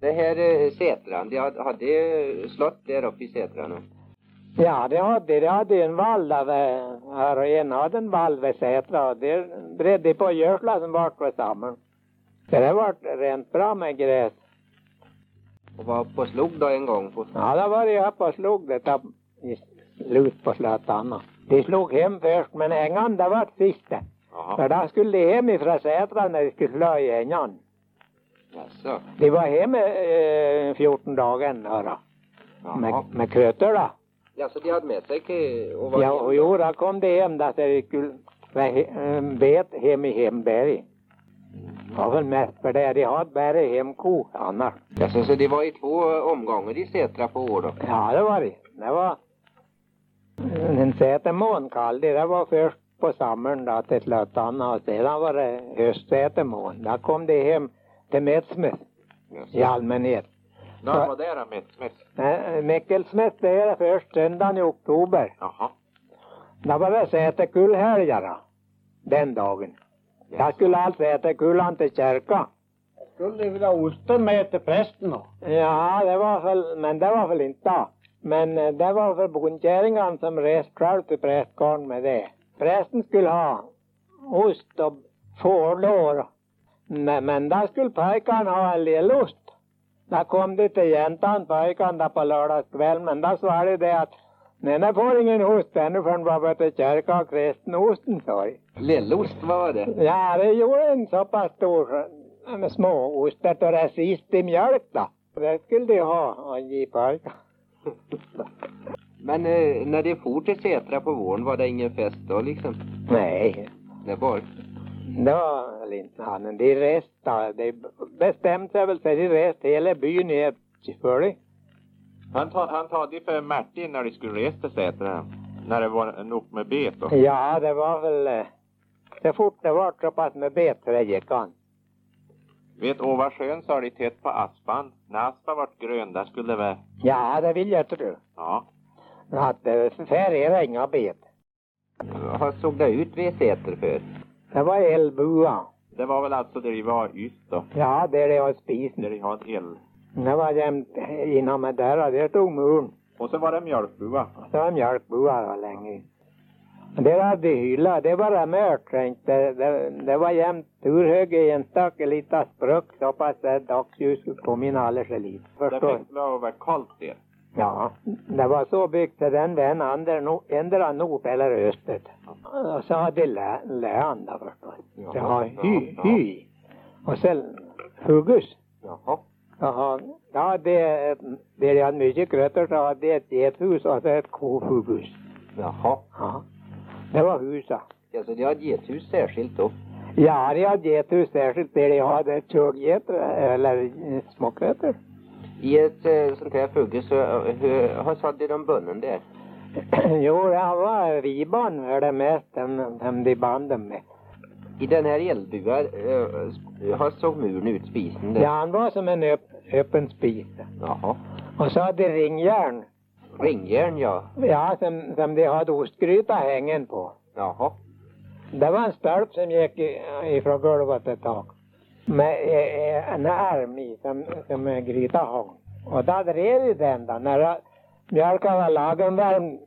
Det här är Sätran, de hade- hade slott där uppe i Sätran. och- Ja, det hade det. hade en valla vid- här och en hade en vall vid Sätra och det bredde på gödsla som vart vid stammen. Så det vart rent bra med gräs. Och var på slog då en gång. På, Ja, då var jag uppe och slog det där i slut på slättarna. De slog hem först, men ängan det vart sista. Jaha. För då skulle de hem ifrån Sätra när de skulle slå i ängan. Jaså? De var hemma eh, 14 dagar ändå då, med, Jaha. med krötor då. Ja, så de hade med sig ke- och var Ja, och jo, då kom det hem där så vi skulle vara he- eh, bet hem i Hemberg. Det var väl mest för det, de hade bara hemko annars. Jaså, så det var i två omgångar i Sätra på år då? Ja, det var det. Det var en säte månkall, det där var först på sommaren då till Slötanna och sedan var det höstsäte mån. Där kom de hem till Metsmith i allmänhet. När var det då, Mets? Mets? Eh, Mikkelsmith det är det först söndagen i oktober. Jaha. Då var det sätekullhelgar då, den dagen. Jag skulle alltså äta kulan till kyrkan. Skulle du vilja ha osten med till prästen då? Ja, det var väl, men det var väl inte då. Men eh, det var för bondkärringan som reste själv till prästgården med det. Prästen skulle ha ost och fårlår. Men, men där skulle pojkarna ha en lillost. Där kom det till jäntan, pojkarna, där på lördagskvällen. Men där svarade det att nej, det får ingen ost ännu förrän vi var till kyrkan och kristen osten, sa jag. Lillost, vad var det? Ja, det gjorde en så pass stor eh, med småost att det var sist i mjölk då. Det skulle de ha och ge pojkar. Men eh, när de for till Sätra på våren var det ingen fest då liksom? Nej, Det var det var väl inte han. De reste då. De bestämde sig väl så de reste hela byn ner till Följe. Han, ta, han tog det för Martin när de skulle resa till Sätra. När det var nog med bet då. Ja, det var väl eh, så fort det var så pass med bet så det gick an. Vet ovan sjön så har de tätt på aspan. När aspan vart grön, där skulle det vara... Ja, det vill jag tro. Ja. Att eh, det färger inga bet. Vad såg det ut vid Säter för? Det var elbua. Det var väl alltså där de var yst då. Ja, det är det jag spisen. Där de har en el. Det var jämt inom med där och där stod muren. Och så var det mjölkbua. Det var mjölkboar då länge. Det hade hylla, det var det mörkt. Det, det, det var jämt urhög i en stack, en liten spruck så pass att dagsljuset kom in alldeles för lite. Det Förstår? fick lov att vara kallt där. Ja, det var så byggt så den vän ändra nord eller östet. Och så hade lä, län då förstås. Det har hy, hy. Och sen huggus. Jaha. Jaha, ja det är, ett- det är redan mycket grötter så hade det ett gethus och så ett kohuggus. Jaha. Ja, det var huset. Ja, så de hade gethus särskilt då? Ja, det hade gethus särskilt där jag hade tjogggetter eller eh, småkrätor. I ett eh, sånt här fugge så, eh, hur, hur sålde de bönnen där? jo, det var ribban för det mest, dem dem de band dem med. I den här eldbuan, eh, hur såg muren ut, spisen där? Ja, han var som en öpp, öppen spis. Jaha. Och så hade de ringjärn, Ringjärn, ja. ja, som, som de hade ostgryta hängen på. Jaha. Det var en stolp som gick i- ifrån golvet ett tak. Med eh, eh, en arm i som, som en gryta hang. Och då drev ju den då. När jag- mjölken var lagom varm,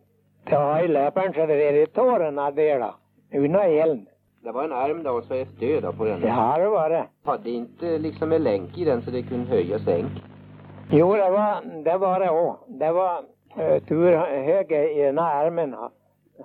så har ju löparen så det drev i tårarna där då. Utan elden. Det var en arm då och så ett stöd då på den. Ja, det var det. Hade inte liksom en länk i den så det kunde höja och sänk? Jo, det var det, var det också. Det var eh, tur höger i ena armen ha-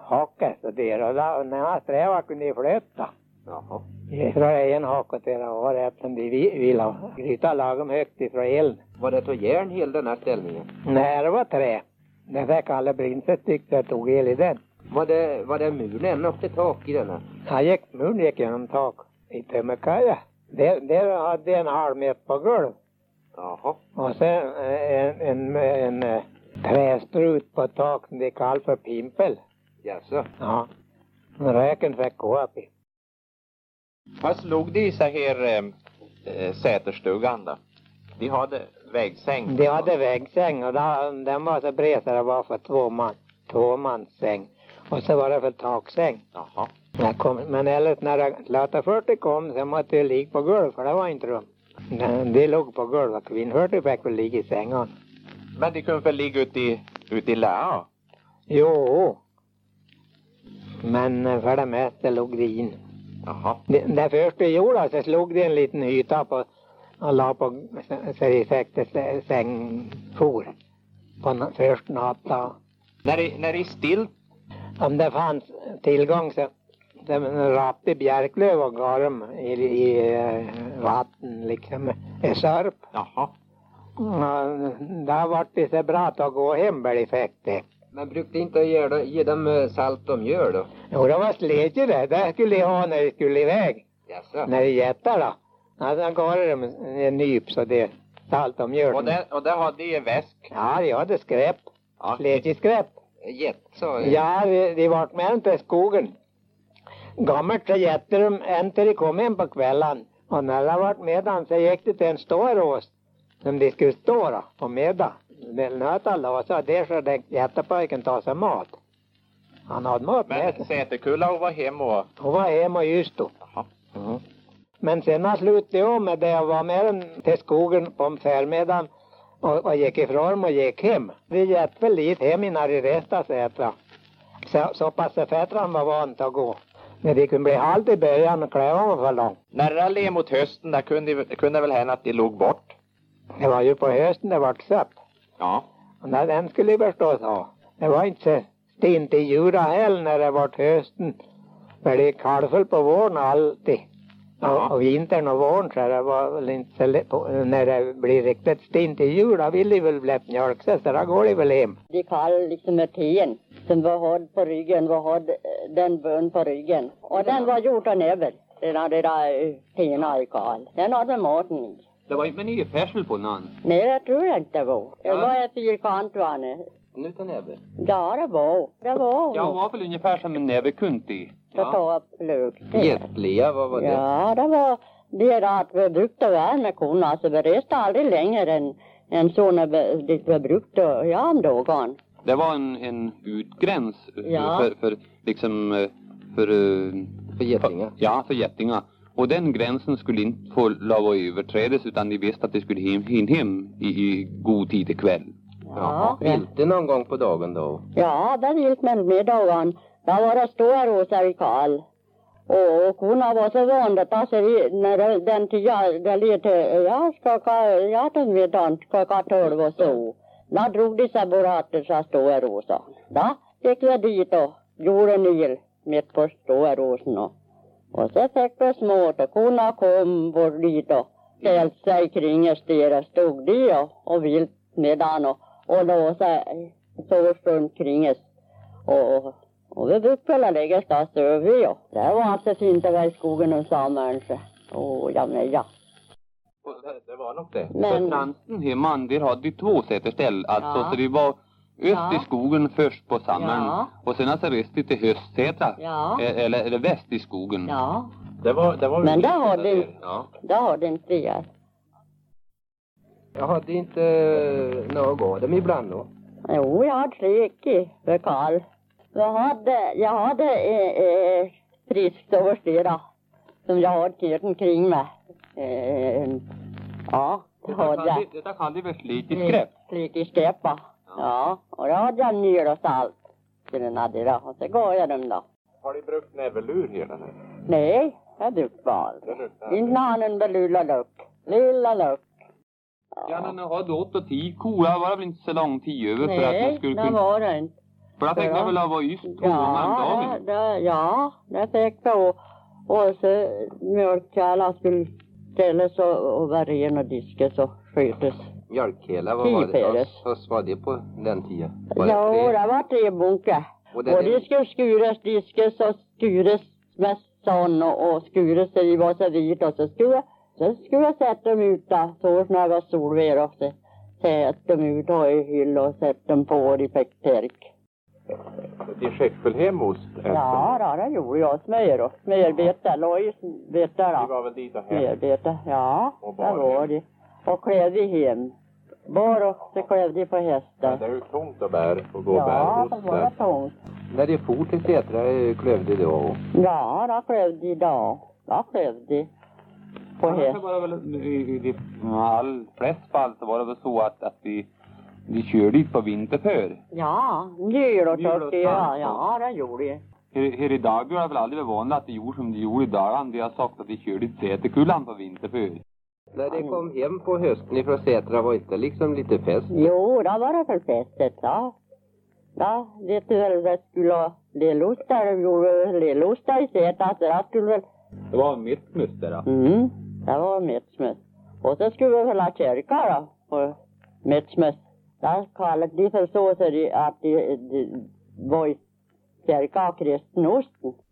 hake så där. Och då, när han strävade kunde jag flytta. Jaha. Ifrån en hake till det var eftersom de vi- ville ha gryta lagom högt ifrån elden. Var det av järn hela den här ställningen? Nej, det var trä. Det där Kalle Brinset tyckte jag tog el i den. Var det, var det muren ända upp till tak i denna? Han gick, muren gick genom tak i tömmerkaja. Där, där hade jag en halv meter på golv. Jaha. Och sen eh, en, en, en, eh, trästrut på tak som de kallade för pimpel. Jaså. Ja. Men Röken fick gå upp i. Vad slog de i så här eh, eh, säterstugan då? De hade vägsäng. De hade väggsäng och där, den var så bred så det var för två man, tvåmanssäng. Och så var det för taksäng. Jaha. Jag kom, men eller när Lata 40 kom så måste jag ligga på golv för det var inte rum. Nej, De låg på gulvet. Kvinnfolket fick väl ligga i sängen. Men de kunde väl ligga ute i, ute i lä? Jo. Men eh, för det mesta låg de in. Jaha. Det, det första jag gjorde så slog de en liten yta på och la på s- sig i säkte sängfor. På na- första natten. När det, när det är stilt, Om det fanns tillgång så så man rapte bjärklöv och garm i, i eh, vatten liksom. I sörp. jaha. Ja, Där vart det så bra att gå hem där de fick det. Men brukade inte ge, dem- ge dem eh, salt och mjöl då? Jo, det var släge det. Det skulle jag ha när jag skulle iväg. Jaså? När det jättar då. Ja, då gav jag dem en nyp så det salt och mjöl. Och det, och det hade i en väsk. Ja, jag hade skräp. Ja. Slägeskräp. Gett sa jag. Ja, de, de vart med en till skogen. Gammalt så jätte de en till de kom hem på kvällen. Och när de vart med dem så gick de till en stor ås. Som de skulle stå då, på middag. Den nöta la sig där så den jättepojken tog sig mat. Han hade mat med Men sig. Säterkulla och var hem och... Hon var hemma just då. Jaha. Men sen han slutade jag med det och var med dem till skogen på förmiddagen och, och gick ifrån dem och gick hem. Vi gick väl dit hem innan de reste sig. tror jag. Så, så pass fötterna var vant att gå. Men de kunde bli halt i början och kläderna var för långa. När det led mot hösten, där kunde, kunde väl hända att de låg bort. Det var ju på hösten det vart sött. Ja. Och när den skulle jag förstås ha. Det var inte så stint i jula heller när det vart hösten. För det är kalvfullt på våren alltid. Ja. Och, och vintern och våren så det var väl inte så lätt. på- När det blir riktigt stint i jula vill de väl bli mjölk så så då går de väl hem. De kall liksom med tien som var hård på ryggen, var hård eh, den bön på ryggen. Och den var gjuten över. Den hade där tierna i kall. Den hade maten i. Det var inte med nyfärsel på någon. Nej, jag tror jag inte det var. Det Ja. var en fyrkant var det. Utan näbbe. Ja, det var. Det var Jag hon. var väl ungefär som en nävekunt i. Jag Ja. tog upp plugg. Gettlea, vad var det? Ja, det var deras förbrukta värld med korna. Alltså, vi reste aldrig längre än, än så när vi, dit vi brukte jamdagen. Det var en, en utgräns Ja. för, för liksom eh, för, eh, För getingar. ja, för getingar. Och den gränsen skulle inte få lov att överträdas utan de visste att de skulle hin- hinna hem i, i god tid ikväll. Ja. Inte någon gång på dagen då? Ja, den gick med middagen. Där var det stora rosor i kall. Och, och korna var så vana att ta sig i- när det- den tia, det lite, ja, klockan, ja, den middagen, klockan tolv och så. Då drog de sig bara till så stora rosa. Då gick vi dit och gjorde en il mitt på stora rosen och, och så fick vi smått och korna kom bort dit och ställde sig kring oss där och stod de och, och vilt medan och, och låsa sov runt kring oss. Och, och vi brukade väl lägga oss där så vi och det var alltså fint att vara i skogen och sommaren så. Åh, ja men ja. Det, det var nog det. För Men, Fransen hemman, där hade de två säterställ alltså, Ja. så det var öst i Ja. skogen först på sommaren Ja. och sen alltså reste till Höstsätra. ja, Eh, Eller, eller väst i skogen. ja, Det var, det var Men där har det du- Ja. det har den friat. Jag hade inte eh, någon av dem ibland då. Jo, jag hade räkor för Karl. Jag hade, jag hade eh, eh, friskt överstyra som jag hade kört omkring med. Eh, ja, det hade jag. Detta kallade vi sliteskräp. Slitisk Slitiskräpa. Ja. ja, och då hade jag mjöl och salt till den hade då. Och så gav jag dem då. Har de brukt näverlur hela den här? Nej, jag dök bara. Inte hanen med lilla luck. Lilla luck. Ja, men nu har du åtta tio kor, det var väl inte så lång tid över för att man Nej, skulle det kunna... var det inte. För jag tänkte Ja. väl att vara just två om Ja, dagen. det, det, ja, det fick jag. Och så mjölkkärlan skulle ställas och, och vara ren och diskas och skötas. Mjölkhela, vad var det? Tioperes. Hos- Hos var det på den tiden? Var det Ja, tre? det var tre bunkar. Och det- Och det skulle skuras, diskas och skuras med sån och, och skuras i vad så vit och så skulle jag, så skulle jag sätta dem ut där, så när det var solver och så sätta dem ut och i hyll och sätta dem på och i fick perk. De skäckte väl hem ost? efter. Ja, då, det gjorde jag. Smör och smörbete, lojsbete De då. var väl dit och hem. Smörbete, ja, Och det bar var hem. det. Och klädde hem. Bar och så klädde på Men Det hästar. är ju tungt att bära och gå och bära Ja, ost det var det där. tungt. När det for till Sätra eh, klövde det och Ja, det klövde idag. Det klövde. på Annars här. så var det väl i, i de all, flest fall så var det väl så att, att vi, vi kör dit på vinterför. Ja, nyårsafton, ja, Nyårsafton. ja, det gjorde jag. Här, här i Dagu har det väl aldrig varit vanligt att de gjorde som de gjorde i Dalarna. De har sagt att de kör dit Säterkullan på vinterför. När ni kom hem på hösten ifrån Sätra var inte liksom lite fest? Jo, det var det för festet, ja. Ja, vet du väl, det skulle lillosta, de gjorde lillosta i Sätra, så det skulle väl, Det var mitt möte då. mm, det var mittsmöss. Och så skulle vi väl ha kyrka då, och mittsmöss. Där kallade de för så, så de, att de, de var i kyrka och kristnosten.